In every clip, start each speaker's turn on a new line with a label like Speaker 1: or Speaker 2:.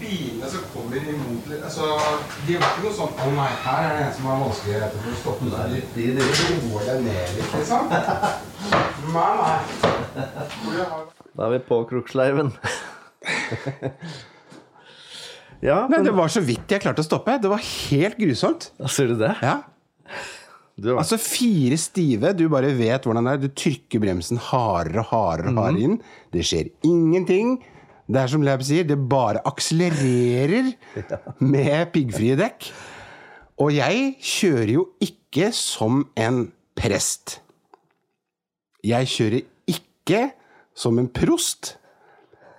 Speaker 1: fine som kommer imot litt altså, De var ikke noe sånn 'Å nei, her er det en som har vanskeligheter for å stoppe'. Så de, de, de roer deg ned litt, liksom. Nei, nei. Hvor jeg har-
Speaker 2: Da er vi på Kroksleiven. ja,
Speaker 3: Nei,
Speaker 2: men
Speaker 3: det var så vidt jeg klarte å stoppe. Det var helt grusomt.
Speaker 2: Ser du det?
Speaker 3: Ja.
Speaker 2: Du har
Speaker 3: Altså fire stive, du bare vet hvordan det er. Du trykker bremsen hardere og hardere, og hardere inn. Det skjer ingenting. Det er som Leib sier, det bare akselererer med piggfrie dekk. Og jeg kjører jo ikke som en prest. Jeg kjører ikke som en prost.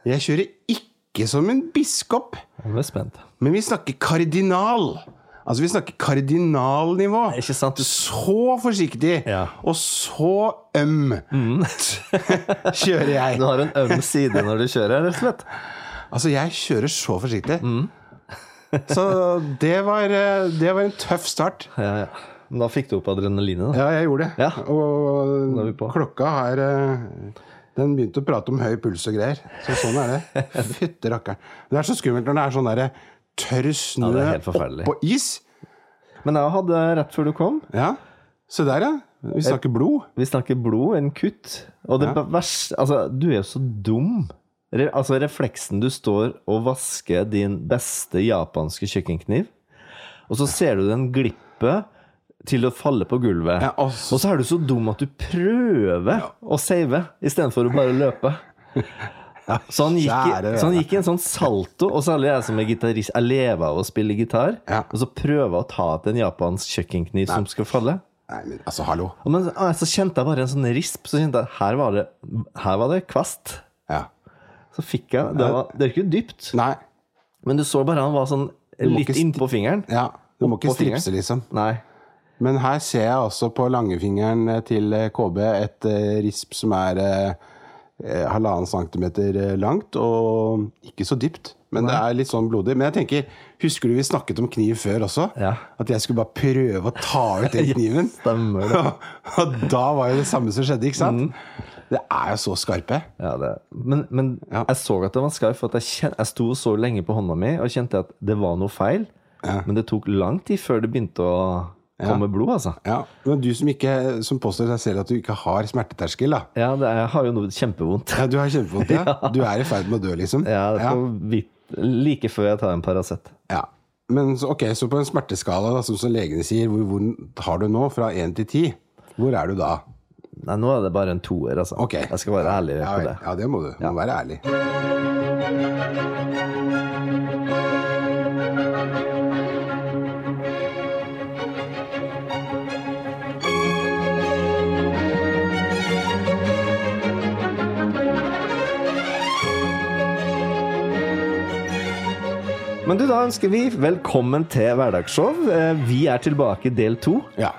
Speaker 3: Jeg kjører ikke som en biskop.
Speaker 2: Jeg er spent.
Speaker 3: Men vi snakker kardinal. Altså, vi snakker kardinalnivå.
Speaker 2: Ikke sant? Du-
Speaker 3: Så forsiktig
Speaker 2: Ja. Mm.
Speaker 3: og så øm kjører jeg.
Speaker 2: Du har en øm side når du kjører, rett og slett.
Speaker 3: Altså, jeg kjører så forsiktig.
Speaker 2: Mm.
Speaker 3: så det var, eh, det var en tøff start.
Speaker 2: Ja, ja. Men da fikk du opp adrenalinet, da.
Speaker 3: Ja, jeg gjorde det.
Speaker 2: Ja. Nå er vi
Speaker 3: Og
Speaker 2: på.
Speaker 3: klokka her eh, Den begynte å prate om høy puls og greier. Så sånn er det. Fytte rakkeren. Det er så skummelt når det er sånn derre tørr snø
Speaker 2: det er helt forferdelig.
Speaker 3: oppå is.
Speaker 2: Men jeg hadde rett før du kom.
Speaker 3: Ja. Se der, ja. Vi snakker blod.
Speaker 2: Vi snakker blod, en kutt. Og det verste Altså, du er jo så dum. Re, altså, refleksen du står og vasker din beste japanske kjøkkenkniv, og så ser du den glippe til å falle på gulvet.
Speaker 3: Ja, og så-
Speaker 2: og så er du så dum at du prøver å save istedenfor å bare løpe. Så han, gikk, i-
Speaker 3: kjære
Speaker 2: så han
Speaker 3: vene.
Speaker 2: gikk i en sånn salto, og særlig jeg som er gitarist, jeg lever av å spille gitar,
Speaker 3: Ja.
Speaker 2: og så prøver å ta til en japansk kjøkkenkniv som skal falle.
Speaker 3: Nei, men altså, hallo.
Speaker 2: Og Men ah, så kjente jeg bare en sånn risp. Så kjente jeg her var det, her var det kvast.
Speaker 3: Ja.
Speaker 2: Så fikk jeg Det, var, det er ikke dypt,
Speaker 3: Nei.
Speaker 2: men du så bare han var sånn
Speaker 3: må
Speaker 2: litt
Speaker 3: ikke st-
Speaker 2: innpå fingeren.
Speaker 3: Ja. Du må
Speaker 2: Opp
Speaker 3: ikke
Speaker 2: på fingeren.
Speaker 3: stripse, liksom.
Speaker 2: Nei.
Speaker 3: Men her ser jeg også på langefingeren til eh, KB et eh, risp som er eh, eh, halvannen centimeter eh, langt, og ikke så dypt. Men det er litt sånn blodig. Men jeg tenker, husker du vi snakket om kniv før også?
Speaker 2: Ja.
Speaker 3: At jeg skulle bare prøve å ta ut den kniven.
Speaker 2: Stemmer det.
Speaker 3: Og da var jo det samme som skjedde, ikke sant? Det er jo så skarpe.
Speaker 2: Ja, det. Men, men
Speaker 3: Ja.
Speaker 2: jeg så at det var skarp, for at jeg, kjen, jeg sto så lenge på hånda mi og kjente at det var noe feil. Men det tok lang tid før det begynte å komme blod, altså.
Speaker 3: Ja. Men du som, ikke, som påstår seg selv at du ikke har smerteterskel, da.
Speaker 2: Ja, det, jeg har jo noe kjempevondt.
Speaker 3: Ja, du har kjempevondt, ja. Du er i ferd med å dø, liksom.
Speaker 2: Ja, det er
Speaker 3: ja.
Speaker 2: på vidt, like før jeg tar en Paracet.
Speaker 3: Ja. Men så, ok, så på en smerteskala, da, som, som legene sier, hvor vondt har du nå? Fra 1 til 10? Hvor er du da?
Speaker 2: Nei, nå er det bare en toer, altså.
Speaker 3: Ok.
Speaker 2: Jeg skal være ærlig
Speaker 3: Ja,
Speaker 2: på
Speaker 3: vel.
Speaker 2: det.
Speaker 3: ja det må du. Må være ærlig.
Speaker 2: Men du, da ønsker vi velkommen til Hverdagsshow. Eh, Vi er tilbake i del to.
Speaker 3: Ja.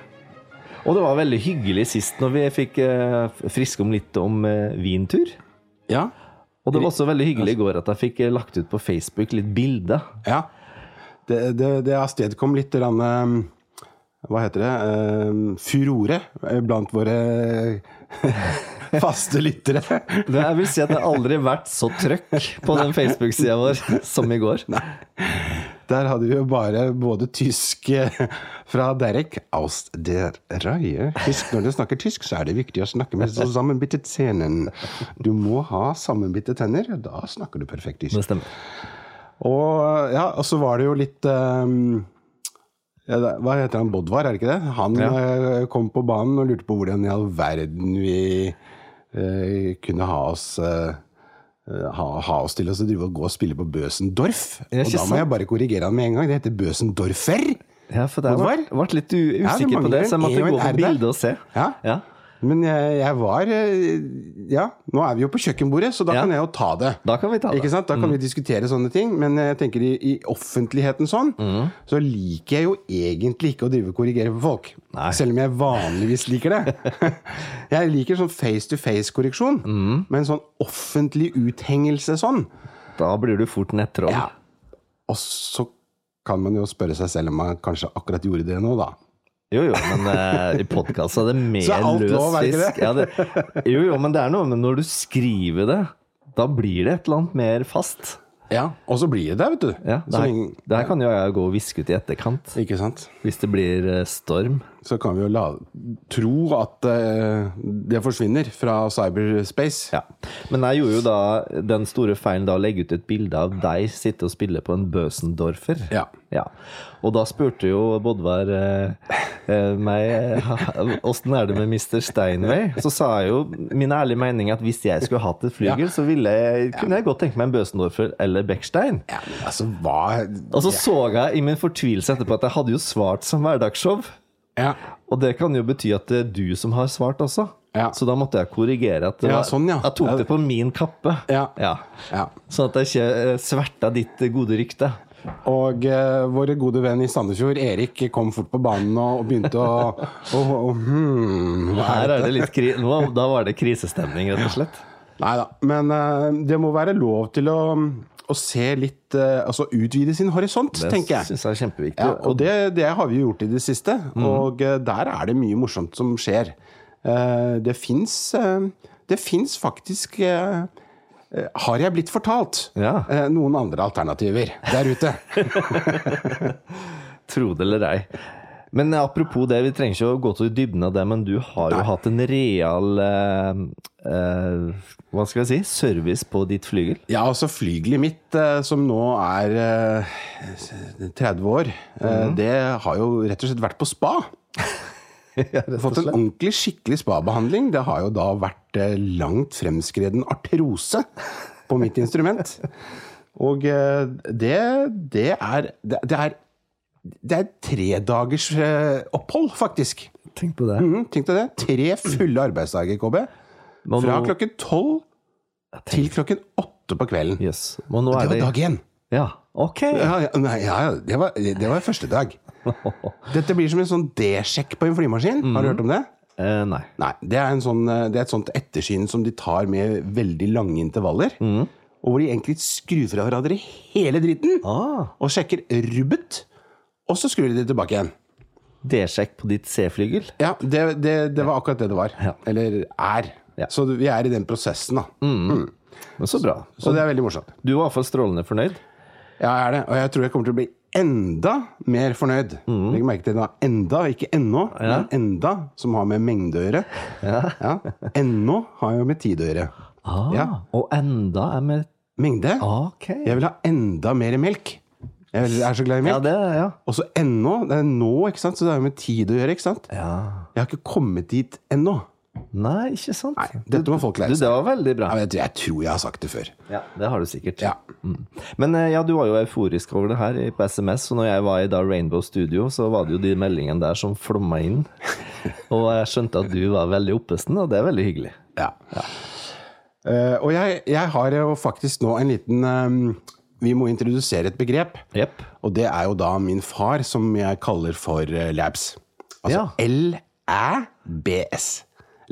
Speaker 2: Og det var veldig hyggelig sist når vi fikk eh, friske om litt om eh, vintur.
Speaker 3: Ja.
Speaker 2: Og det var også veldig hyggelig i går at jeg fikk eh, lagt ut på Facebook litt bilder.
Speaker 3: ja. Det, det, det avstedkom litt grann, eh, Hva heter det? eh, furore eh, blant våre faste lyttere.
Speaker 2: Det- Jeg vil si at det har aldri vært så trøkk på den Facebook-sida vår som i går.
Speaker 3: Der hadde vi jo bare både tysk eh, fra Derek Aus der Reihe. Tysk, når du snakker tysk, så er det viktig å snakke med så sammenbittet scenen. Du må ha sammenbitte tenner, da snakker du perfekt tysk.
Speaker 2: Det stemmer.
Speaker 3: Og, eh, ja, og så var det jo litt ehm, ja, det- Hva heter han? Bodvar, er det ikke det? Han
Speaker 2: Ja.
Speaker 3: eh, kom på banen og lurte på hvordan i all verden vi eh, kunne ha oss eh, eh, ha, ha oss til oss å drive og gå og spille på Bøsendorf. og
Speaker 2: Ja, ikke
Speaker 3: da må
Speaker 2: sant?
Speaker 3: jeg bare korrigere han med en gang. Det heter Bøsendorfer!
Speaker 2: Ja, for jeg
Speaker 3: Hvorfor?
Speaker 2: ble, ble litt u-
Speaker 3: Ja, det
Speaker 2: usikker på det,
Speaker 3: mangler
Speaker 2: så jeg
Speaker 3: en E
Speaker 2: måtte
Speaker 3: og en
Speaker 2: gå på
Speaker 3: R der.
Speaker 2: bildet og se.
Speaker 3: Ja.
Speaker 2: Ja.
Speaker 3: Men jeg, jeg var eh, Ja, nå er vi jo på kjøkkenbordet, så da
Speaker 2: Ja.
Speaker 3: kan jeg jo ta det.
Speaker 2: Da kan vi ta det.
Speaker 3: Ikke sant? Da kan vi diskutere sånne ting. Men jeg tenker i, i offentligheten sånn, så liker jeg jo egentlig ikke å drive og korrigere på folk.
Speaker 2: Nei.
Speaker 3: Selv om jeg vanligvis liker det. jeg liker sånn face to face-korreksjon. Men sånn offentlig uthengelse sånn
Speaker 2: Da blir du fort nettroll.
Speaker 3: Ja. Og så kan man jo spørre seg selv om man kanskje akkurat gjorde det nå, da.
Speaker 2: Jo, jo, men eh, i podkast er det mer
Speaker 3: Så er alt
Speaker 2: løs
Speaker 3: lov, er det ikke
Speaker 2: fisk. Ja, det, jo, jo, men det er noe med når du skriver det, da blir det et eller annet mer fast.
Speaker 3: Ja, Og så blir det der, vet du.
Speaker 2: Ja, det,
Speaker 3: så
Speaker 2: her,
Speaker 3: lenge,
Speaker 2: det her kan jo jeg gå og viske ut i etterkant.
Speaker 3: ikke sant?
Speaker 2: Hvis det blir eh, storm.
Speaker 3: Så kan vi jo la, tro at eh, det forsvinner fra cyberspace.
Speaker 2: Ja. Men jeg gjorde jo da den store feilen da å legge ut et bilde av deg sitte og spille på en Bøsendorfer.
Speaker 3: Ja.
Speaker 2: Og da spurte jo Bodvar eh, eh, meg åssen er det med Mr. Steinway. Så sa jeg jo min ærlige mening at hvis jeg skulle hatt et flygel, så ville jeg, kunne jeg godt tenke meg en Bøsendorfer eller Beckstein.
Speaker 3: Ja, men altså, hva
Speaker 2: Og så så jeg i min fortvilelse etterpå at jeg hadde jo svart som hverdagsshow.
Speaker 3: Ja.
Speaker 2: Og det kan jo bety at det er du som har svart også.
Speaker 3: Ja.
Speaker 2: Så da måtte jeg korrigere. At det
Speaker 3: Ja,
Speaker 2: var-
Speaker 3: sånn, ja.
Speaker 2: Jeg tok det på min kappe.
Speaker 3: Ja. ja.
Speaker 2: Sånn at jeg ikke eh, sverta ditt eh, gode rykte.
Speaker 3: Og eh, våre gode venn i Sandefjord, Erik, kom fort på banen og, og begynte å, å, å hmm, hva er
Speaker 2: Her er det litt kri Nå, Da var det krisestemning, rett og slett.
Speaker 3: Nei da. Men eh, det må være lov til å, å se litt eh, Altså utvide sin horisont,
Speaker 2: Det
Speaker 3: tenker jeg.
Speaker 2: syns jeg er kjempeviktig.
Speaker 3: Ja, og det, det har vi gjort i det siste, og eh, der er det mye morsomt som skjer. Eh, Det fins Det fins faktisk eh, eh, har jeg blitt fortalt
Speaker 2: Ja.
Speaker 3: eh, noen andre alternativer der ute?
Speaker 2: Tro det eller ei. Men eh, apropos det, vi trenger ikke å gå til dybden av det, men du har jo hatt en real eh, eh, Hva skal jeg si? Service på ditt flygel.
Speaker 3: Ja, altså flygelet mitt, eh, som nå er eh, 30 år, eh,
Speaker 2: Mhm.
Speaker 3: det har jo rett og slett vært på spa. Fått en ordentlig, skikkelig spabehandling. Det har jo da vært eh, langt fremskreden artrose på mitt instrument. Og eh, det, det er Det det er, det er tredagers opphold, faktisk.
Speaker 2: Tenk på det.
Speaker 3: Mhm, tenk deg det. Tre fulle arbeidsdager, KB.
Speaker 2: Må
Speaker 3: Fra
Speaker 2: nå-
Speaker 3: klokken tolv til klokken åtte på kvelden.
Speaker 2: Yes. Og nå
Speaker 3: Det
Speaker 2: er
Speaker 3: var
Speaker 2: det
Speaker 3: dag én.
Speaker 2: Ja, ok.
Speaker 3: Ja, ja, nei, ja, ja, det, var, det var første dag. Dette blir som en sånn D-sjekk på en flymaskin. Har du hørt om det?
Speaker 2: Eh, nei.
Speaker 3: Nei. Det er, en sånn, eh, det er et sånt ettersyn som de tar med veldig lange intervaller. Og hvor de egentlig skrur fra hverandre hele driten.
Speaker 2: Ah,
Speaker 3: Og sjekker rubbet. Og så skrur de det tilbake igjen.
Speaker 2: D-sjekk på ditt C-flygel.
Speaker 3: Ja, det, det, det var akkurat det det var. Eller er.
Speaker 2: Ja.
Speaker 3: Så vi er i den prosessen, da.
Speaker 2: Men så bra.
Speaker 3: Så det er veldig morsomt.
Speaker 2: Du var iallfall strålende fornøyd.
Speaker 3: Ja, jeg er det. Og jeg tror jeg kommer til å bli enda mer fornøyd.
Speaker 2: Mhm.
Speaker 3: Legg merke til det. da. Enda, ikke ennå, men enda, som har med mengde å gjøre. Ja. Ennå har jo med tid å gjøre.
Speaker 2: Ah,
Speaker 3: Ja.
Speaker 2: Og enda er med
Speaker 3: Mengde.
Speaker 2: Ok.
Speaker 3: Jeg vil ha enda mer melk. Jeg vil- er så glad i
Speaker 2: Ja,
Speaker 3: melk.
Speaker 2: det ja.
Speaker 3: Og så ennå. Det er nå, ikke sant? så det har jo med tid å gjøre. ikke sant?
Speaker 2: ja.
Speaker 3: Jeg har ikke kommet dit ennå.
Speaker 2: Nei, ikke sant?
Speaker 3: Nei, dette må folk
Speaker 2: Du,
Speaker 3: lære seg.
Speaker 2: det var veldig bra.
Speaker 3: Ja, men Jeg jeg tror jeg har sagt det før.
Speaker 2: Ja, Det har du sikkert.
Speaker 3: Ja.
Speaker 2: Mm. Men eh, ja, du var jo euforisk over det her i- på SMS, og når jeg var i da Rainbow Studio, så var det jo de meldingene der som flomma inn. Og jeg skjønte at du var veldig oppesten, og det er veldig hyggelig.
Speaker 3: Ja. Eh, og jeg, jeg har jo faktisk nå en liten eh, Vi må introdusere et begrep.
Speaker 2: Jepp.
Speaker 3: Og det er jo da min far, som jeg kaller for eh, Labs. Altså L-æ-b-s.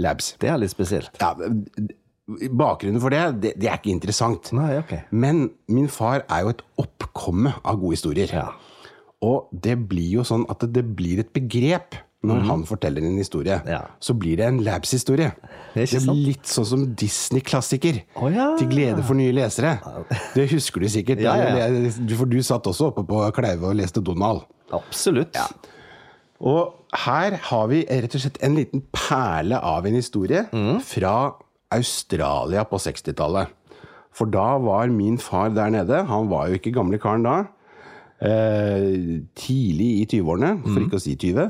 Speaker 3: Labs.
Speaker 2: Det er litt spesielt.
Speaker 3: Ja, bakgrunnen for det, det, det er ikke interessant.
Speaker 2: Nei, ok.
Speaker 3: Men min far er jo et oppkomme av gode historier.
Speaker 2: Ja.
Speaker 3: Og det blir jo sånn at det blir et begrep når han forteller en historie.
Speaker 2: Mhm. Ja.
Speaker 3: Så blir det en Labs-historie.
Speaker 2: Det er ikke
Speaker 3: Det
Speaker 2: sant.
Speaker 3: blir litt sånn som Disney-klassiker.
Speaker 2: Å ja.
Speaker 3: Til glede for nye lesere. Det husker du sikkert.
Speaker 2: Ja, ja,
Speaker 3: Du- For du satt også oppe på Kleive og leste Donald.
Speaker 2: Absolutt.
Speaker 3: Og her har vi rett og slett en liten perle av en historie fra Australia på 60-tallet. For da var min far der nede. Han var jo ikke gamle karen da. Eh, tidlig i 20-årene, for ikke å si 20.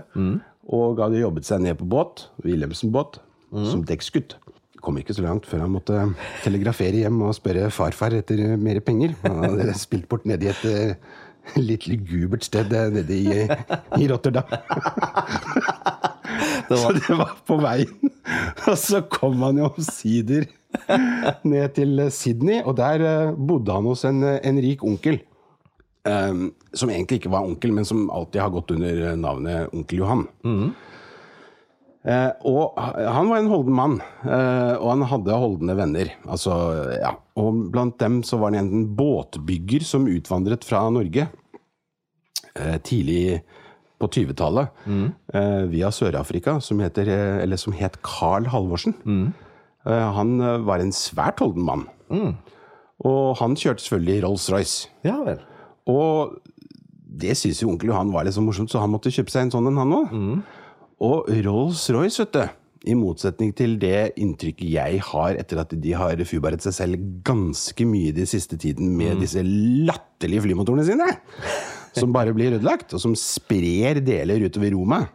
Speaker 3: Og hadde jobbet seg ned på båt, Wilhelmsen-båt, som dekksgutt. Kom ikke så langt før han måtte telegrafere hjem og spørre farfar etter mer penger. Han hadde spilt bort nedi et eh, litt lugubert sted eh, nede i, i Rotterdam.
Speaker 2: Det
Speaker 3: Så
Speaker 2: var,
Speaker 3: det var på veien. Og så kom han jo omsider ned til Sydney, og der eh, bodde han hos en, eh, en rik onkel. Ehm, som egentlig ikke var onkel, men som alltid har gått under navnet onkel Johan.
Speaker 2: Mm.
Speaker 3: Eh, og han var en holden mann, eh, og han hadde holdende venner. Altså, ja. Og blant dem så var det enten båtbygger som utvandret fra Norge eh, tidlig på 20-tallet eh, via Sør-Afrika, som, heter, eh, eller som het Carl Halvorsen. Eh, han eh, var en svært holden mann. Og han kjørte selvfølgelig Rolls-Royce.
Speaker 2: Ja vel.
Speaker 3: Og det syntes jo onkel Johan var litt så morsomt, så han måtte kjøpe seg en sånn en, han òg. Og Rolls-Royce, vet du. I motsetning til det inntrykket jeg har etter at de har fubaret seg selv ganske mye de siste tiden med disse latterlige flymotorene sine, som bare blir ødelagt, og som sprer deler utover rommet.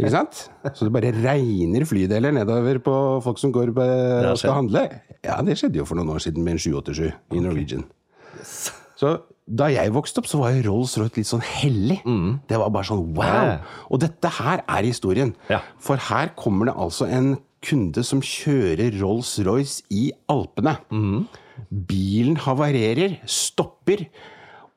Speaker 3: Ikke sant? Så det bare regner flydeler nedover på folk som går på,
Speaker 2: har
Speaker 3: og skal
Speaker 2: skjedd.
Speaker 3: handle. Ja, det skjedde jo for noen år siden med en 787 i Norwegian. Så da jeg vokste opp, så var jo Rolls-Royce litt sånn hellig. Det var bare sånn wow!
Speaker 2: Mm. Ja.
Speaker 3: Og dette her er historien.
Speaker 2: Ja.
Speaker 3: For her kommer det altså en kunde som kjører Rolls-Royce i Alpene.
Speaker 2: Mm.
Speaker 3: Bilen havarerer, stopper,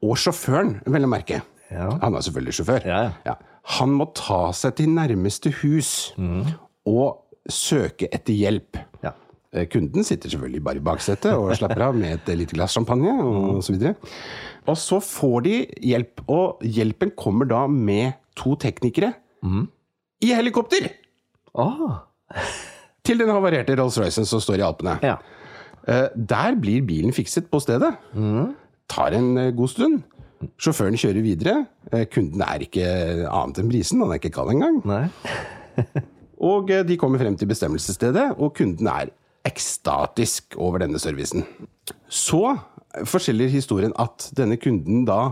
Speaker 3: og sjåføren, vel å merke
Speaker 2: Ja.
Speaker 3: Han er selvfølgelig sjåfør.
Speaker 2: Ja, ja.
Speaker 3: Han må ta seg til nærmeste hus
Speaker 2: Mm.
Speaker 3: og søke etter hjelp.
Speaker 2: Ja.
Speaker 3: Eh, Kunden sitter selvfølgelig bare i baksetet og slapper av med et eh, lite glass champagne og så videre. Og så får de hjelp, og hjelpen kommer da med to teknikere i helikopter
Speaker 2: Ah,
Speaker 3: til den havarerte Rolls-Roycen som står i Alpene.
Speaker 2: ja.
Speaker 3: Eh, Der blir bilen fikset på stedet. Tar en eh, god stund. Sjåføren kjører videre. Eh, Kunden er ikke annet enn brisen, han er ikke kald engang.
Speaker 2: Nei.
Speaker 3: Og eh, de kommer frem til bestemmelsesstedet, og kunden er ekstatisk over denne servicen. Så forteller historien at denne kunden da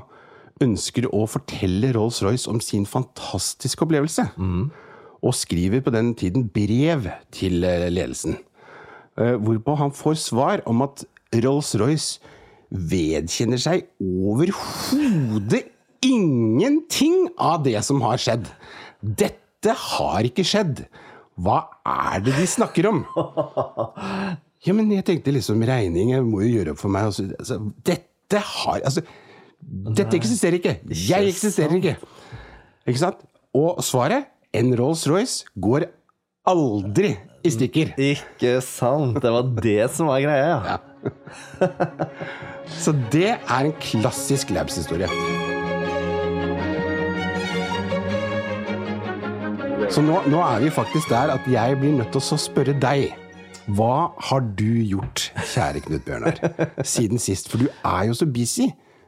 Speaker 3: ønsker å fortelle Rolls-Royce om sin fantastiske opplevelse. Og skriver på den tiden brev til eh, ledelsen. Eh, Hvorpå han får svar om at Rolls-Royce vedkjenner seg overhodet ingenting av det som har skjedd. Dette har ikke skjedd. Hva er det de snakker om? Ja, men jeg tenkte liksom regning jeg må jo gjøre opp for meg. og så- Altså, dette har Altså, dette eksisterer ikke. Jeg eksisterer ikke. Ikke sant? Og svaret? En Rolls-Royce går aldri i stykker.
Speaker 2: Ikke sant. Det var det som var greia, ja.
Speaker 3: Så det er en klassisk labs-historie. Så nå, nå er vi faktisk der at jeg blir nødt til å spørre deg. Hva har du gjort, kjære Knut Bjørnar, siden sist? For du er jo så busy.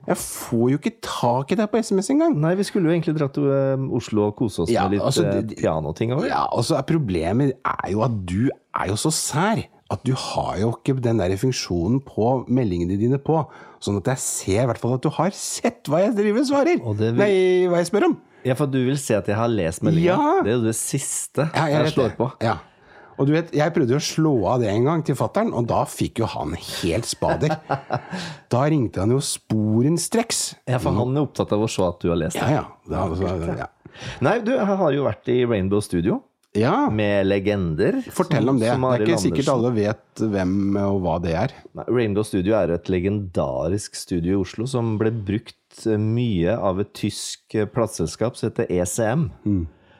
Speaker 3: Jeg får jo ikke tak i deg på SMS engang.
Speaker 2: Nei, vi skulle jo egentlig dra til eh, Oslo og kose oss
Speaker 3: Ja,
Speaker 2: med litt
Speaker 3: altså,
Speaker 2: eh,
Speaker 3: det-
Speaker 2: pianoting òg.
Speaker 3: Ja, og så er problemet er jo at du er jo så sær at du har jo ikke den der funksjonen på meldingene dine på. Sånn at jeg ser i hvert fall at du har sett hva jeg driver og svarer.
Speaker 2: Og det vil-
Speaker 3: Nei, hva jeg spør om.
Speaker 2: Ja, for du vil se at jeg har lest meldinga?
Speaker 3: Ja.
Speaker 2: Det er jo det siste
Speaker 3: Ja,
Speaker 2: jeg,
Speaker 3: vet
Speaker 2: slår
Speaker 3: det.
Speaker 2: på.
Speaker 3: Ja. Og du vet, jeg prøvde jo å slå av det en gang til fattern, og da fikk jo han helt spader. da ringte han jo sporenstreks.
Speaker 2: Ja, for han er opptatt av å se at du har lest det.
Speaker 3: Ja, ja. Da, så, ja.
Speaker 2: Nei, du, jeg har jo vært i Rainbow Studio
Speaker 3: ja.
Speaker 2: med legender.
Speaker 3: Fortell
Speaker 2: som-
Speaker 3: om det.
Speaker 2: som
Speaker 3: Det er
Speaker 2: Arild
Speaker 3: ikke sikkert
Speaker 2: Andersen.
Speaker 3: alle vet hvem og hva det er.
Speaker 2: Nei, Rainbow Studio er et legendarisk studio i Oslo som ble brukt eh, mye av et tysk eh, plateselskap som heter ECM.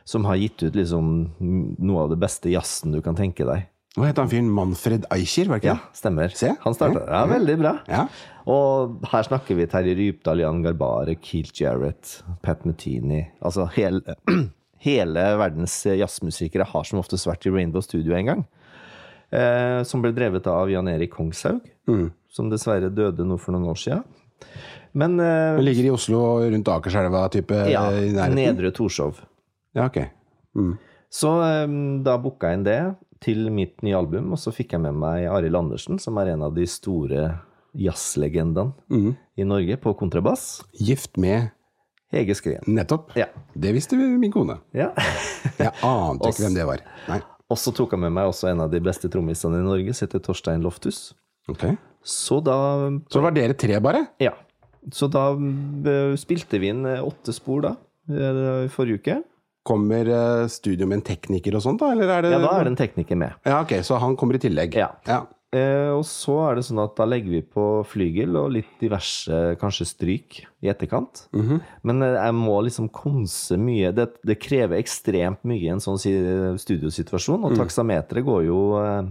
Speaker 2: Som har gitt ut liksom noe av det beste jazzen du kan tenke deg.
Speaker 3: Hva het han fyren? Manfred Eicher, var det ikke
Speaker 2: Ja, stemmer.
Speaker 3: Se.
Speaker 2: Han starta. Ja, veldig bra.
Speaker 3: Ja.
Speaker 2: Og her snakker vi Terje Rypdal, Jan Garbare, Keith Jarrett, Pat Metheny Altså hele, hele verdens jazzmusikere har som oftest vært i Rainbow Studio en gang. Eh, som ble drevet av Jan Erik Kongshaug,
Speaker 3: Mm.
Speaker 2: som dessverre døde nå for noen år sia. Men eh,
Speaker 3: Den ligger i Oslo og rundt Akerselva-type
Speaker 2: ja,
Speaker 3: eh, i nærheten?
Speaker 2: Nedre Torshov.
Speaker 3: Ja, ok.
Speaker 2: Så um, da booka jeg inn det til mitt nye album, og så fikk jeg med meg Arild Andersen, som er en av de store jazzlegendene
Speaker 3: Mm.
Speaker 2: i Norge, på kontrabass.
Speaker 3: Gift med
Speaker 2: Hege Skøyen.
Speaker 3: Nettopp.
Speaker 2: Ja.
Speaker 3: Det visste min kone.
Speaker 2: ja.
Speaker 3: Jeg ante
Speaker 2: Oss.
Speaker 3: ikke hvem det var. Nei.
Speaker 2: og så tok jeg med meg også en av de beste trommisene i Norge, som heter Torstein Loftus.
Speaker 3: Ok.
Speaker 2: Så da
Speaker 3: Så det var dere tre, bare?
Speaker 2: Ja. Så da um, spilte vi inn eh, åtte spor, da, eh, i forrige uke.
Speaker 3: Kommer eh, studio med en tekniker og sånt, da? Eller er det
Speaker 2: Ja, da er det en tekniker med.
Speaker 3: Ja, ok, Så han kommer i tillegg?
Speaker 2: Ja. Eh, og så er det sånn at da legger vi på flygel og litt diverse, kanskje stryk, i etterkant.
Speaker 3: mhm.
Speaker 2: Men eh, jeg må liksom konse mye. Det, det krever ekstremt mye i en sånn si, studiosituasjon,
Speaker 3: Mm.
Speaker 2: og taksameteret går jo eh,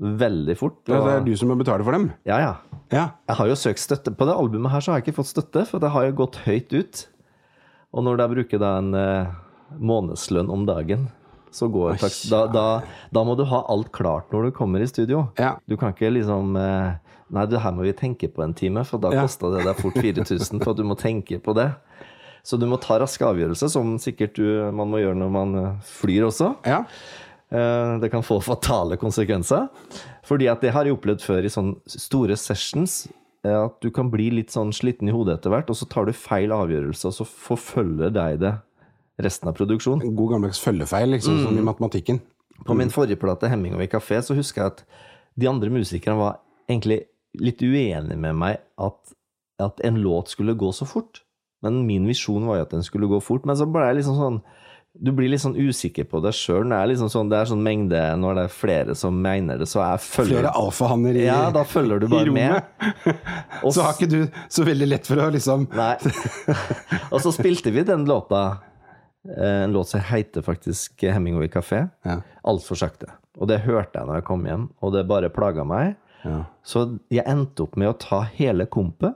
Speaker 2: veldig fort.
Speaker 3: Ja, Det er
Speaker 2: Og,
Speaker 3: du som må betale for dem?
Speaker 2: ja, ja.
Speaker 3: Ja.
Speaker 2: Jeg har jo søkt støtte. På det albumet her så har jeg ikke fått støtte, for det har jo gått høyt ut. Og når jeg bruker da en eh, månedslønn om dagen så går taks... Da, da, da må du ha alt klart når du kommer i studio.
Speaker 3: Ja.
Speaker 2: Du kan ikke liksom eh, Nei, du, her må vi tenke på en time, for da
Speaker 3: Ja.
Speaker 2: kosta det deg fort 4000 for at du må tenke på det. Så du må ta raske avgjørelser, som sikkert du, man må gjøre når man eh, flyr også.
Speaker 3: Ja.
Speaker 2: Eh, Det kan få fatale konsekvenser. Fordi at det har jeg opplevd før i sånne store sessions. eh, At du kan bli litt sånn sliten i hodet etter hvert, og så tar du feil avgjørelse, og så forfølger deg det resten av produksjonen.
Speaker 3: God gammeldags følgefeil, liksom,
Speaker 2: Mm.
Speaker 3: som i matematikken.
Speaker 2: På min forrige plate, 'Hemmingway kafé', så husker jeg at de andre musikerne var egentlig litt uenige med meg at, at en låt skulle gå så fort. Men min visjon var jo at den skulle gå fort. Men så ble jeg liksom sånn du blir litt sånn usikker på deg sjøl. Det er liksom sånn, det er sånn mengde Når det er flere som mener det, så er følger
Speaker 3: Flere alfahanner i,
Speaker 2: Ja, da følger du
Speaker 3: i
Speaker 2: bare med.
Speaker 3: rommet.
Speaker 2: Og
Speaker 3: Så har
Speaker 2: s-
Speaker 3: ikke du så veldig lett for å liksom
Speaker 2: Nei. Og så spilte vi den låta. eh, En låt som heter faktisk Hemingway kafé.
Speaker 3: Ja.
Speaker 2: Altfor sakte. Og det hørte jeg når jeg kom hjem, og det bare plaga meg.
Speaker 3: Ja.
Speaker 2: Så jeg endte opp med å ta hele kompet,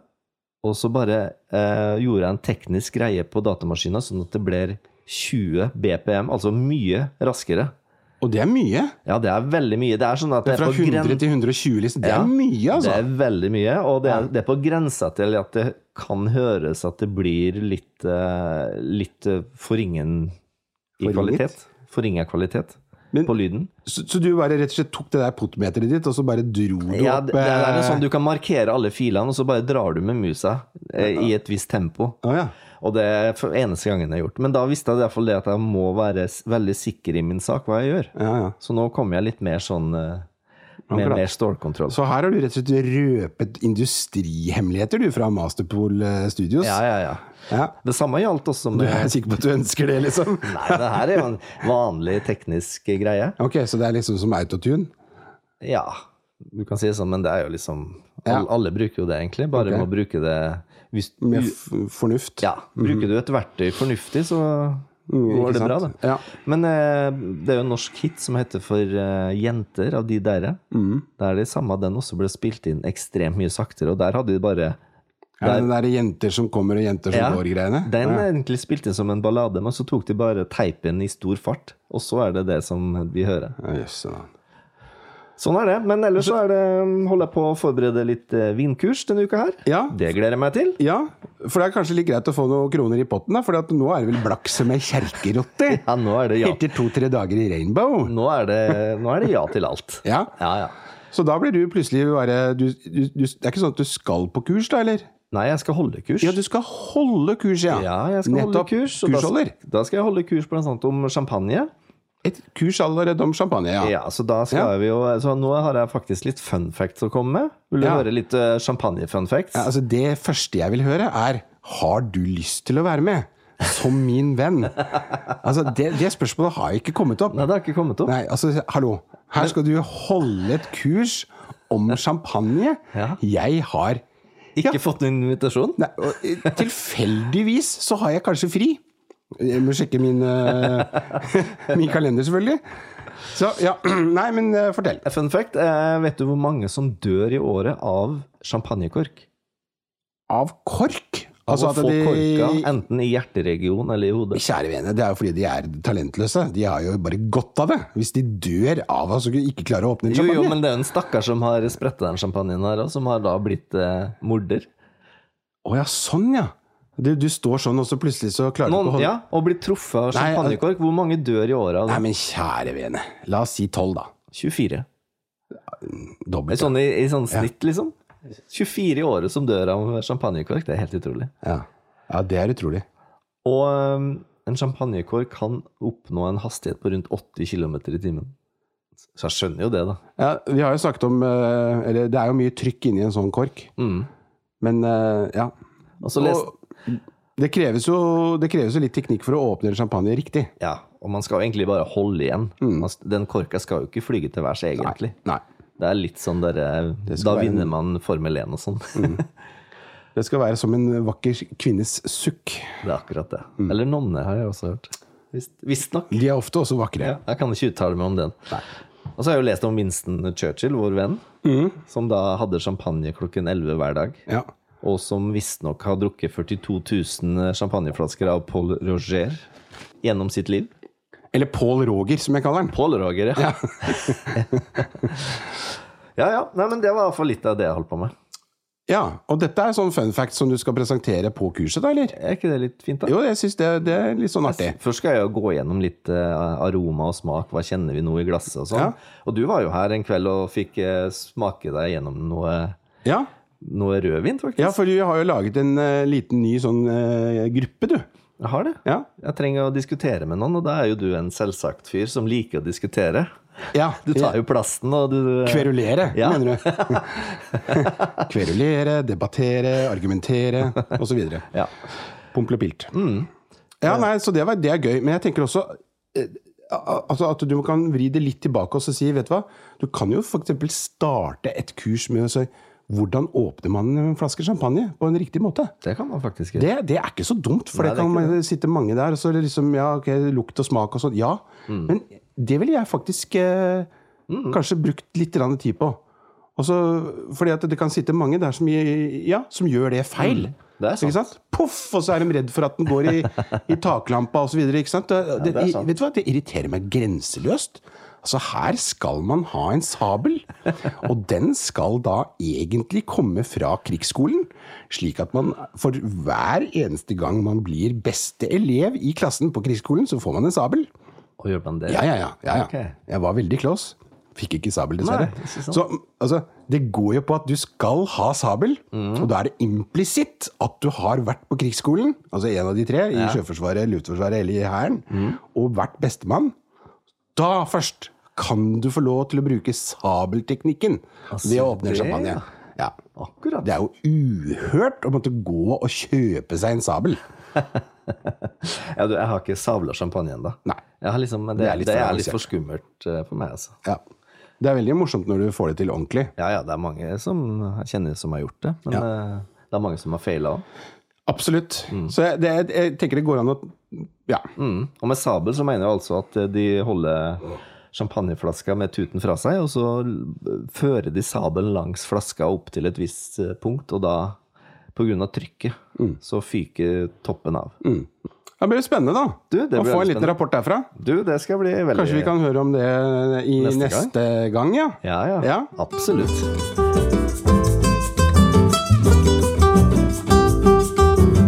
Speaker 2: og så bare eh, gjorde jeg en teknisk greie på datamaskina, sånn at det ble 20 BPM, altså mye raskere.
Speaker 3: Og det er mye.
Speaker 2: Ja, det er veldig mye. Det er sånn at det er,
Speaker 3: Fra
Speaker 2: på
Speaker 3: 100
Speaker 2: gren-
Speaker 3: til 120, liksom. Det
Speaker 2: Ja.
Speaker 3: er mye,
Speaker 2: Det
Speaker 3: altså.
Speaker 2: er veldig mye, og det er, det er på grensa til at det kan høres at det blir litt, eh, litt eh, forringen i
Speaker 3: Forringet?
Speaker 2: kvalitet. Forringa kvalitet
Speaker 3: Men-
Speaker 2: på lyden.
Speaker 3: Så, så du bare rett og slett tok det der potmeteret ditt, og så bare dro du
Speaker 2: Ja,
Speaker 3: opp
Speaker 2: det, det er
Speaker 3: eh,
Speaker 2: en sånn Du kan markere alle filene, og så bare drar du med musa eh, i et visst tempo.
Speaker 3: Å, ja.
Speaker 2: Og det er for eneste gangen jeg har gjort. Men da visste jeg i hvert fall det at jeg må være s- veldig sikker i min sak, hva jeg gjør.
Speaker 3: Ja, ja.
Speaker 2: Så nå kommer jeg litt mer sånn eh, med
Speaker 3: Akkurat.
Speaker 2: mer stålkontroll.
Speaker 3: Så her har du rett og slett røpet industrihemmeligheter du fra Masterpool eh, Studios.
Speaker 2: Ja, ja, ja.
Speaker 3: Ja.
Speaker 2: Det samme gjaldt også
Speaker 3: Du
Speaker 2: med
Speaker 3: er sikker på at du ønsker det, liksom?
Speaker 2: Nei, det her er jo en vanlig teknisk greie.
Speaker 3: Ok, så det er liksom som autotune?
Speaker 2: Ja, du kan si det sånn, men det er jo liksom Alle, alle bruker jo det, egentlig. Bare
Speaker 3: Ok.
Speaker 2: må bruke det hvis,
Speaker 3: Med f fornuft?
Speaker 2: Ja. Bruker du et verktøy fornuftig, så
Speaker 3: Mhm. Mm, ikke
Speaker 2: går det bra,
Speaker 3: sant?
Speaker 2: det.
Speaker 3: Ja.
Speaker 2: Men eh, det er jo en norsk hit som heter For eh, jenter av de derre.
Speaker 3: Mm.
Speaker 2: Det er det samme, den også ble spilt inn ekstremt mye saktere, og der hadde de bare
Speaker 3: Er det den der jenter som kommer og jenter som
Speaker 2: Ja,
Speaker 3: går-greiene?
Speaker 2: Den eh, er egentlig spilt inn som en ballade, men så tok de bare teipen i stor fart, og så er det det som vi hører.
Speaker 3: Ja, jøsse da.
Speaker 2: Sånn er det. Men ellers så er det, mm, holder jeg på å forberede litt eh, vindkurs denne uka her.
Speaker 3: Ja.
Speaker 2: Det gleder jeg meg til.
Speaker 3: ja, for det er kanskje litt greit å få noen kroner i potten, da, for at nå er det vel blakk som ei kjerkerotte?
Speaker 2: Ja, nå er det ja.
Speaker 3: Etter to-tre dager i Rainbow.
Speaker 2: Nå er det, nå er det ja til alt.
Speaker 3: Ja,
Speaker 2: Ja, ja.
Speaker 3: Så da blir du plutselig bare du, du, du, Det er ikke sånn at du skal på kurs, da, eller?
Speaker 2: Nei, jeg skal holde kurs.
Speaker 3: Ja, du skal holde kurs, ja.
Speaker 2: Ja, jeg skal holde
Speaker 3: Nettopp.
Speaker 2: kurs. og
Speaker 3: Kursholder.
Speaker 2: Da, da skal jeg holde kurs blant annet om champagne.
Speaker 3: Et kurs allerede om champagne, ja.
Speaker 2: Ja, så da skal
Speaker 3: Ja.
Speaker 2: vi jo Så nå har jeg faktisk litt fun facts å komme med. Vil du
Speaker 3: Ja.
Speaker 2: høre litt eh, champagne-fun facts?
Speaker 3: Ja, Altså, det første jeg vil høre, er Har du lyst til å være med? Som min venn. Altså, det, det spørsmålet har ikke kommet opp.
Speaker 2: Nei, det har ikke kommet opp.
Speaker 3: Nei, altså, hallo. Her skal du holde et kurs om champagne.
Speaker 2: Ja.
Speaker 3: Jeg har
Speaker 2: Ikke
Speaker 3: Ja.
Speaker 2: fått noen invitasjon?
Speaker 3: Nei, og, eh, tilfeldigvis så har jeg kanskje fri. Jeg må sjekke min, eh, min kalender, selvfølgelig. Så ja, Nei, men eh, fortell.
Speaker 2: Fun fact. eh, vet du hvor mange som dør i året av champagnekork?
Speaker 3: Av kork? Altså
Speaker 2: å
Speaker 3: at
Speaker 2: få korka
Speaker 3: de
Speaker 2: enten i hjerteregionen eller i hodet.
Speaker 3: Kjære vene, det er jo fordi de er talentløse. De har jo bare godt av det. Hvis de dør av å ikke klare å åpne en
Speaker 2: Jo,
Speaker 3: champagne.
Speaker 2: jo, men det er jo en stakkar som har spretta den champagnen her, og som har da blitt eh, morder.
Speaker 3: Å ja, sånn ja. Du, du står sånn, og så plutselig så klarer du ikke å
Speaker 2: Noen,
Speaker 3: holde
Speaker 2: ja, Og blitt truffet av
Speaker 3: Nei,
Speaker 2: champagnekork. Hvor mange dør i året av
Speaker 3: Nei,
Speaker 2: det?
Speaker 3: men kjære vene. La oss si tolv, da.
Speaker 2: 24. I
Speaker 3: Dobbelt.
Speaker 2: sånn, i, i sånn snitt, liksom. 24 i året som dør av champagnekork. Det er helt utrolig.
Speaker 3: Ja. ja, det er utrolig.
Speaker 2: Og eh, en champagnekork kan oppnå en hastighet på rundt 80 km i timen. Så jeg skjønner jo det, da.
Speaker 3: Ja, vi har jo snakket om eh, Eller det er jo mye trykk inni en sånn kork. Men eh, ja.
Speaker 2: Mm. Og så les,
Speaker 3: det kreves, jo, det kreves jo litt teknikk for å åpne en champagne riktig.
Speaker 2: Ja, og man skal jo egentlig bare holde igjen. Altså, Den korka skal jo ikke flyge til værs, egentlig.
Speaker 3: Nei.
Speaker 2: Det er litt sånn der, Da
Speaker 3: skal være
Speaker 2: vinner man Formel 1 og sånn.
Speaker 3: Det skal være som en vakker kvinnes sukk.
Speaker 2: Det er akkurat det. Eller nonner har jeg også hørt. Visst- Visstnok.
Speaker 3: De er ofte også vakre.
Speaker 2: Ja, jeg kan ikke uttale meg om den. Og så har jeg jo lest om Winston Churchill, vår venn, som da hadde champagne klokken 11 hver dag.
Speaker 3: Ja.
Speaker 2: Og som visstnok har eh, drukket 42 000 champagneflasker av Paul Roger gjennom sitt liv.
Speaker 3: Eller Paul Roger, som jeg kaller han.
Speaker 2: Pål Roger, ja. ja, ja. Nei, men det var i hvert fall litt av det jeg holdt på med.
Speaker 3: Ja, Og dette er sånn fun fact som du skal presentere på kurset, da, eller?
Speaker 2: Er ikke det litt fint, da?
Speaker 3: Jo, jeg syns det, det er litt sånn artig.
Speaker 2: Først skal jeg jo gå gjennom litt eh, aroma og smak. Hva kjenner vi nå i glasset og sånn.
Speaker 3: Ja.
Speaker 2: Og du var jo her en kveld og fikk eh, smake deg gjennom noe,
Speaker 3: Ja,
Speaker 2: noe rødvin, faktisk.
Speaker 3: ja for du har jo laget en eh, liten ny sånn eh, gruppe, du.
Speaker 2: Jeg har det.
Speaker 3: Ja.
Speaker 2: Jeg trenger å diskutere med noen, og da er jo du en selvsagt fyr som liker å diskutere.
Speaker 3: ja.
Speaker 2: Du tar jo plassen, og du eh,
Speaker 3: Kverulere,
Speaker 2: Ja.
Speaker 3: mener du. Kverulere, debattere, argumentere osv.
Speaker 2: Ja.
Speaker 3: Pomple og pilt.
Speaker 2: Mm.
Speaker 3: Ja, nei, så det, var, det er gøy. Men jeg tenker også eh, al- altså at du kan vri det litt tilbake og så si vet du hva, du kan jo f.eks. starte et kurs med å si hvordan åpner man en flaske champagne på en riktig måte.
Speaker 2: Det kan man faktisk gjøre.
Speaker 3: Det, det er ikke så dumt, for
Speaker 2: Nei,
Speaker 3: det
Speaker 2: det
Speaker 3: kan
Speaker 2: er ikke
Speaker 3: man- sitte mange der. Og så er det liksom, ja, ok, Lukt og smak og sånn. Ja.
Speaker 2: Mm.
Speaker 3: Men det ville jeg faktisk eh, kanskje brukt litt grann tid på. Og så- fordi at det kan sitte mange der som, i- ja, som gjør det feil.
Speaker 2: Det er
Speaker 3: Ikke
Speaker 2: sant.
Speaker 3: sant? Poff! Og så er de redd for at den går i, i taklampa osv. Det, det,
Speaker 2: det er sant.
Speaker 3: vet du hva? det irriterer meg grenseløst. Altså Her skal man ha en sabel, og den skal da egentlig komme fra krigsskolen. Slik at man for hver eneste gang man blir beste elev i klassen på krigsskolen, så får man en sabel.
Speaker 2: Og gjør man det?
Speaker 3: Ja, ja, ja. ja, ja.
Speaker 2: Ok.
Speaker 3: Jeg var veldig close. Fikk ikke sabel, dessverre.
Speaker 2: Nei, ikke sant.
Speaker 3: så altså, det går jo på at du skal ha sabel, og da er det implisitt at du har vært på krigsskolen, altså en av de tre, i Sjøforsvaret, Luftforsvaret eller i Hæren,
Speaker 2: Mm.
Speaker 3: og vært bestemann. Da først kan du få lov til å bruke sabelteknikken ved å åpne
Speaker 2: Altså, det,
Speaker 3: en champagne.
Speaker 2: ja.
Speaker 3: Ja.
Speaker 2: Akkurat.
Speaker 3: Det er jo uhørt å måtte gå og kjøpe seg en sabel.
Speaker 2: Ja, du, jeg har ikke sabla champagne ennå.
Speaker 3: Nei.
Speaker 2: Jeg har liksom, men det,
Speaker 3: Det
Speaker 2: det
Speaker 3: er
Speaker 2: er
Speaker 3: litt
Speaker 2: litt,
Speaker 3: for avansert.
Speaker 2: for skummelt eh, for meg, altså.
Speaker 3: Ja. Det er veldig morsomt når du får det til ordentlig.
Speaker 2: Ja, ja, det er mange som jeg kjenner som har gjort det, men eh, det er mange som har feila òg.
Speaker 3: Absolutt. Så jeg, det, jeg, jeg tenker det går an å Ja.
Speaker 2: Mm. Og med sabel så mener jeg altså at de holder champagneflaska med tuten fra seg, og så l- fører de sabelen langs flaska opp til et visst eh, punkt, og da på grunn av trykket,
Speaker 3: Mm.
Speaker 2: så fyker toppen av.
Speaker 3: Det blir spennende, da.
Speaker 2: Du, det
Speaker 3: å
Speaker 2: blir
Speaker 3: få en liten
Speaker 2: veldig spennende.
Speaker 3: rapport derfra.
Speaker 2: Du, det skal bli veldig
Speaker 3: Kanskje vi kan høre om det i
Speaker 2: Neste
Speaker 3: neste,
Speaker 2: gang?
Speaker 3: gang. ja.
Speaker 2: Ja, ja.
Speaker 3: Ja.
Speaker 2: Absolutt.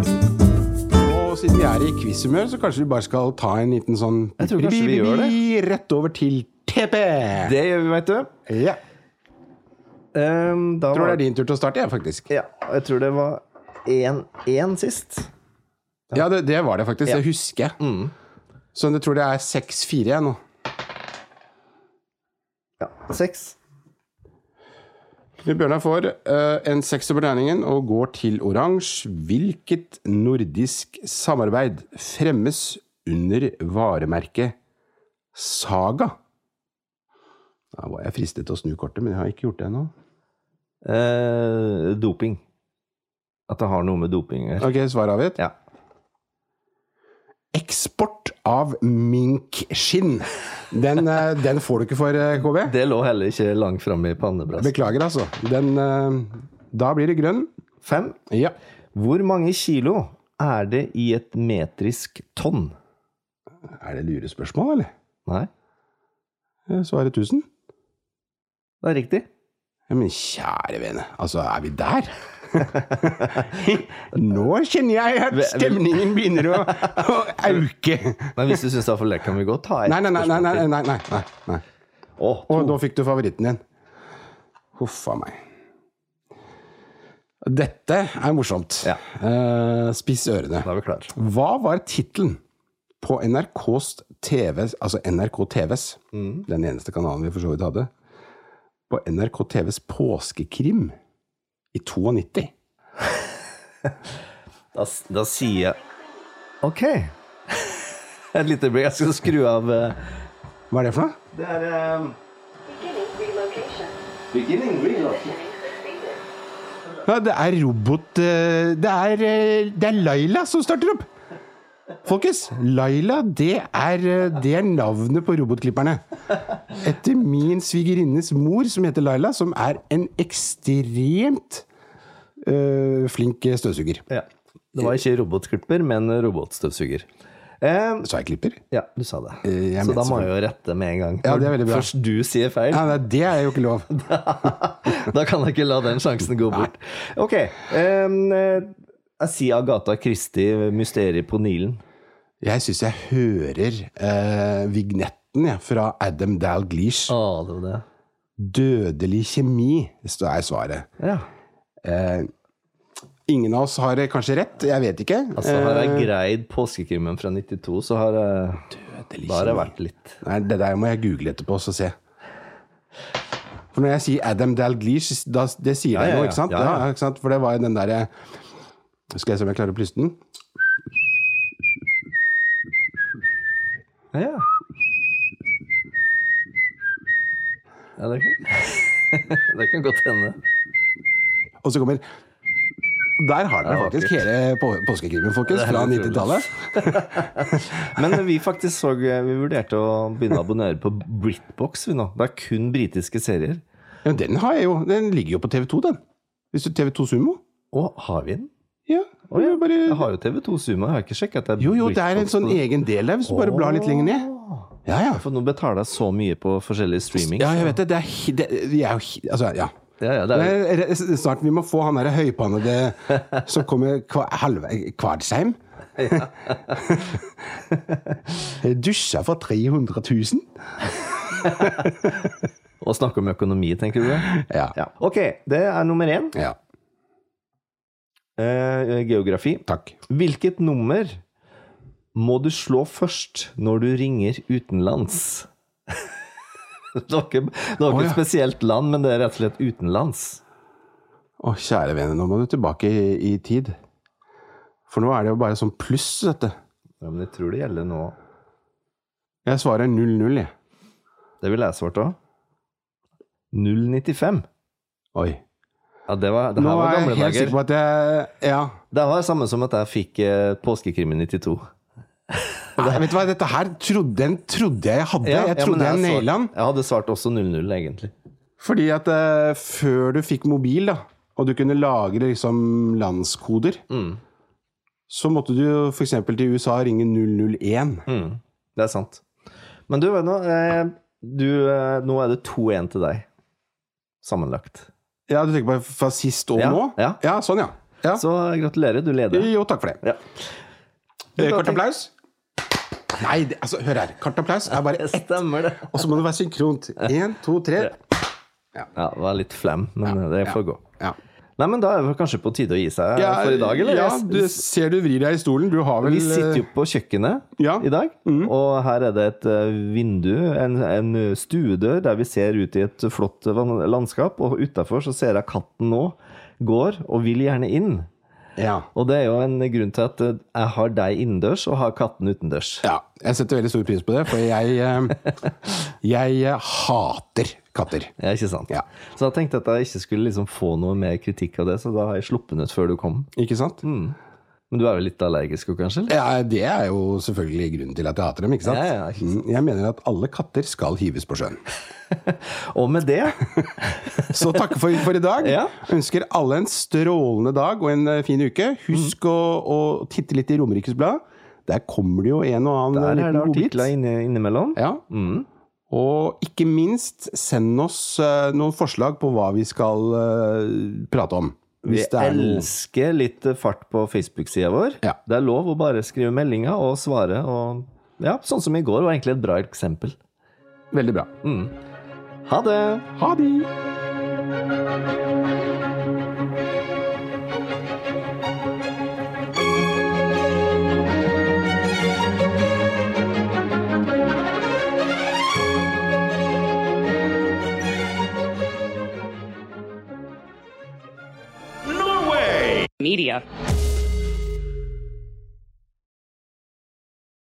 Speaker 3: Og siden vi er i quiz-humør, så kanskje vi bare skal ta en liten sånn
Speaker 2: Jeg tror kanskje vi gjør det.
Speaker 3: Rett over til TP.
Speaker 2: Det gjør vi, veit du.
Speaker 3: Ja.
Speaker 2: Ehm, da
Speaker 3: Jeg tror det
Speaker 2: var-
Speaker 3: er din tur til å starte, jeg, faktisk.
Speaker 2: Ja, og jeg tror det var 1-1 sist.
Speaker 3: Ja, det, det var det faktisk. Det husker jeg.
Speaker 2: Mm.
Speaker 3: Så jeg tror det er 6-4 jeg nå.
Speaker 2: Ja, 6.
Speaker 3: Knut Bjørnar får eh, en sekser på terningen og går til oransje. Hvilket nordisk samarbeid fremmes under varemerket Saga? Da var jeg fristet til å snu kortet, men jeg har ikke gjort det ennå.
Speaker 2: Eh, doping. At det har noe med doping å gjøre.
Speaker 3: Ok, svar avgitt.
Speaker 2: Ja.
Speaker 3: Eksport av minkskinn. Den, eh, den får du ikke for, eh, KB.
Speaker 2: Det lå heller ikke langt framme i pannebrast.
Speaker 3: Beklager, altså. Den eh, Da blir det grønn.
Speaker 2: 5.
Speaker 3: Ja.
Speaker 2: Hvor mange kilo er det i et metrisk tonn?
Speaker 3: Er det lurespørsmål, eller? Eh,
Speaker 2: Nei,
Speaker 3: Jeg svarer 1000.
Speaker 2: det er riktig.
Speaker 3: Ja, men kjære vene, altså, er vi der? Nå kjenner jeg at stemningen begynner å, å auke.
Speaker 2: Men hvis du syns det er for lett, kan vi godt ta et
Speaker 3: Nei, nei, nei. nei,
Speaker 2: spørsmål
Speaker 3: nei,
Speaker 2: til.
Speaker 3: nei, nei, nei, nei.
Speaker 2: Å,
Speaker 3: Og
Speaker 2: to.
Speaker 3: da fikk du favoritten din. Huff a meg. Dette er morsomt.
Speaker 2: Ja.
Speaker 3: Eh, spiss ørene.
Speaker 2: Da er vi klare.
Speaker 3: Hva var tittelen på NRKs TVs, altså NRK TVs, den eneste kanalen vi for så vidt hadde, på NRK TVs påskekrim i 92?
Speaker 2: Da, s- da sier jeg OK. Et lite øyeblikk. Jeg skal skru av eh,
Speaker 3: Hva er det for noe?
Speaker 2: Det er eh,
Speaker 4: Beginning relocation.
Speaker 2: Beginning relocation.
Speaker 3: Ja, det er robot... eh, Det er, eh, det er Laila som starter opp! Folkens, Laila, det er, eh, det er navnet på robotklipperne. Etter min svigerinnes mor, som heter Laila, som er en ekstremt eh, flink støvsuger.
Speaker 2: Ja. Det var ikke robotklipper, men robotstøvsuger. Eh,
Speaker 3: Så jeg klipper.
Speaker 2: ja, du sa det.
Speaker 3: Eh, jeg
Speaker 2: Så
Speaker 3: mente
Speaker 2: da må jeg jo rette med en gang.
Speaker 3: Ja, det er veldig bra.
Speaker 2: Først du sier feil.
Speaker 3: Ja, nei, det er jo ikke lov.
Speaker 2: da kan jeg ikke la den sjansen gå bort. Ok. em, eh, jeg sier Agatha Christie, 'Mysteriet på Nilen'.
Speaker 3: Jeg syns jeg hører eh, vignetten jeg, fra Adam Dalglish.
Speaker 2: Å, det var det.
Speaker 3: 'Dødelig kjemi', så er svaret.
Speaker 2: Ja.
Speaker 3: Eh, ingen av oss har eh, kanskje rett, jeg vet ikke.
Speaker 2: Altså, har
Speaker 3: Eh,
Speaker 2: jeg greid påskekrimmen fra 92, så har jeg
Speaker 3: Dødelig
Speaker 2: Da har jeg
Speaker 3: kjemi.
Speaker 2: vært litt
Speaker 3: Nei, det der må jeg google etterpå og se. For når jeg sier Adam Dalglish, da, det sier
Speaker 2: Ja,
Speaker 3: deg
Speaker 2: ja,
Speaker 3: noe,
Speaker 2: ja.
Speaker 3: ikke sant?
Speaker 2: Ja, ja.
Speaker 3: ikke sant? For det var jo den derre Skal jeg se om jeg klarer å plyste den?
Speaker 2: Ja. ja det, kan. det kan godt hende.
Speaker 3: Og så kommer Der har dere
Speaker 2: Ja,
Speaker 3: faktisk hele på, påskekrimen, folkens,
Speaker 2: Det er
Speaker 3: fra
Speaker 2: helt utrolig.
Speaker 3: 90-tallet.
Speaker 2: Men vi faktisk så Vi vurderte å begynne å abonnere på Britbox vi nå. Det er kun britiske serier.
Speaker 3: Ja, den har jeg jo. Den ligger jo på TV2, den. Hvis du TV2 Sumo.
Speaker 2: Å, har vi den?
Speaker 3: Ja.
Speaker 2: Å ja,
Speaker 3: det er bare,
Speaker 2: Jeg har jo TV2 Sumo. Jeg har ikke sjekket at det er
Speaker 3: jo, jo, det er en
Speaker 2: Britbox
Speaker 3: sånn
Speaker 2: på-
Speaker 3: egen del der, hvis du bare blar litt lenger ned. Ja, ja.
Speaker 2: For nå betaler jeg så mye på forskjellige streaming.
Speaker 3: Ja, jeg vet det. Det er, hi- det, vi er jo hi- Altså, ja.
Speaker 2: Ja, ja, det er,
Speaker 3: Det er- Snart vi må få han derre høypannede som kommer kva, halve, Kvadsheim. Dusja for 300 000?
Speaker 2: å snakke om økonomi, tenker du? det?
Speaker 3: Ja.
Speaker 2: Ja. Ok, det er nummer én.
Speaker 3: ja.
Speaker 2: Eh, geografi.
Speaker 3: Takk.
Speaker 2: Hvilket nummer må du slå først når du ringer utenlands? det var ikke, det var ikke
Speaker 3: Å, ja.
Speaker 2: et spesielt land, men det er rett og slett utenlands.
Speaker 3: Å, kjære vene, nå må du tilbake i, i tid. For nå er det jo bare sånn pluss, dette.
Speaker 2: Ja, men jeg tror det gjelder nå.
Speaker 3: Jeg svarer 0-0, jeg.
Speaker 2: Det ville jeg svart òg. 095.
Speaker 3: Oi.
Speaker 2: Ja, det, var, det
Speaker 3: Nå
Speaker 2: her var
Speaker 3: er jeg
Speaker 2: gamle
Speaker 3: helt sikker
Speaker 2: dager.
Speaker 3: på at jeg Ja.
Speaker 2: Det var det samme som at jeg fikk eh, påskekrim i 92.
Speaker 3: Nei, vet du hva, dette her trodde, den trodde jeg jeg hadde.
Speaker 2: Ja,
Speaker 3: jeg
Speaker 2: ja, men altså-
Speaker 3: trodde jeg
Speaker 2: svart-
Speaker 3: naila den.
Speaker 2: Jeg hadde svart også 00, egentlig.
Speaker 3: Fordi at eh, før du fikk mobil, da, og du kunne lagre liksom landskoder,
Speaker 2: Mm,
Speaker 3: så måtte du jo f.eks. til USA ringe 001.
Speaker 2: Mm, det er sant. Men du, vet du, hva, eh, du, eh, nå er det 2-1 til deg. Sammenlagt.
Speaker 3: Ja, du tenker på fra sist og
Speaker 2: Ja,
Speaker 3: nå?
Speaker 2: ja.
Speaker 3: sånn, ja. ja.
Speaker 2: Så eh, gratulerer, du leder.
Speaker 3: Jo, takk for det.
Speaker 2: Ja.
Speaker 3: Eh,
Speaker 2: da
Speaker 3: Kort
Speaker 2: tenk-
Speaker 3: applaus. Nei, det, altså, hør her. Kort applaus er bare ett.
Speaker 2: Stemmer det.
Speaker 3: Og så må det være synkront. Én, to, tre.
Speaker 2: Ja, det var litt flam, men eh, det får gå.
Speaker 3: Ja.
Speaker 2: Nei, men da er det vel kanskje på tide å gi seg eh, for i dag, eller?
Speaker 3: Ja,
Speaker 2: Jeg-
Speaker 3: du ser du vrir deg i stolen. Du har vel
Speaker 2: Vi sitter jo på kjøkkenet
Speaker 3: Ja. Mm.
Speaker 2: i dag, og her er det et eh, vindu, en, en stuedør, der vi ser ut i et flott van- landskap, og utafor så ser jeg katten nå går og vil gjerne inn.
Speaker 3: eh, ja.
Speaker 2: Og det er jo en grunn til at eh, jeg har deg innendørs og har katten utendørs.
Speaker 3: Ja, jeg setter veldig stor pris på det, for jeg, eh, jeg eh, hater katter.
Speaker 2: Ja, ikke sant?
Speaker 3: Ja.
Speaker 2: Så jeg tenkte at jeg ikke skulle liksom få noe mer kritikk av det, så da har jeg sluppet den ut før du kom.
Speaker 3: Ikke sant?
Speaker 2: Men du er vel litt allergisk også, kanskje? Eller?
Speaker 3: Mm. Ja, det er jo selvfølgelig grunnen til at jeg hater dem. ikke sant?
Speaker 2: Ja, ja, ikke
Speaker 3: Mm, Jeg mener at alle katter skal hives på sjøen.
Speaker 2: Og med det
Speaker 3: Så takk for, for i dag.
Speaker 2: Ja.
Speaker 3: Ønsker alle en strålende dag og en eh, fin uke. Husk å, å titte litt i Romerikes Blad. Der kommer det jo en og annen
Speaker 2: Der er det
Speaker 3: liten godbit.
Speaker 2: artikler inne, innimellom.
Speaker 3: Ja.
Speaker 2: Mm.
Speaker 3: Og ikke minst, send oss eh, noen forslag på hva vi skal eh, prate om.
Speaker 2: Vi
Speaker 3: Hvis det er noe-
Speaker 2: elsker litt fart på Facebook-sida vår.
Speaker 3: Ja.
Speaker 2: Det er lov å bare skrive meldinger og svare. Og, ja, sånn som i går var egentlig et bra eksempel.
Speaker 3: Veldig bra.
Speaker 2: Ha det!
Speaker 3: Ha det!
Speaker 5: media.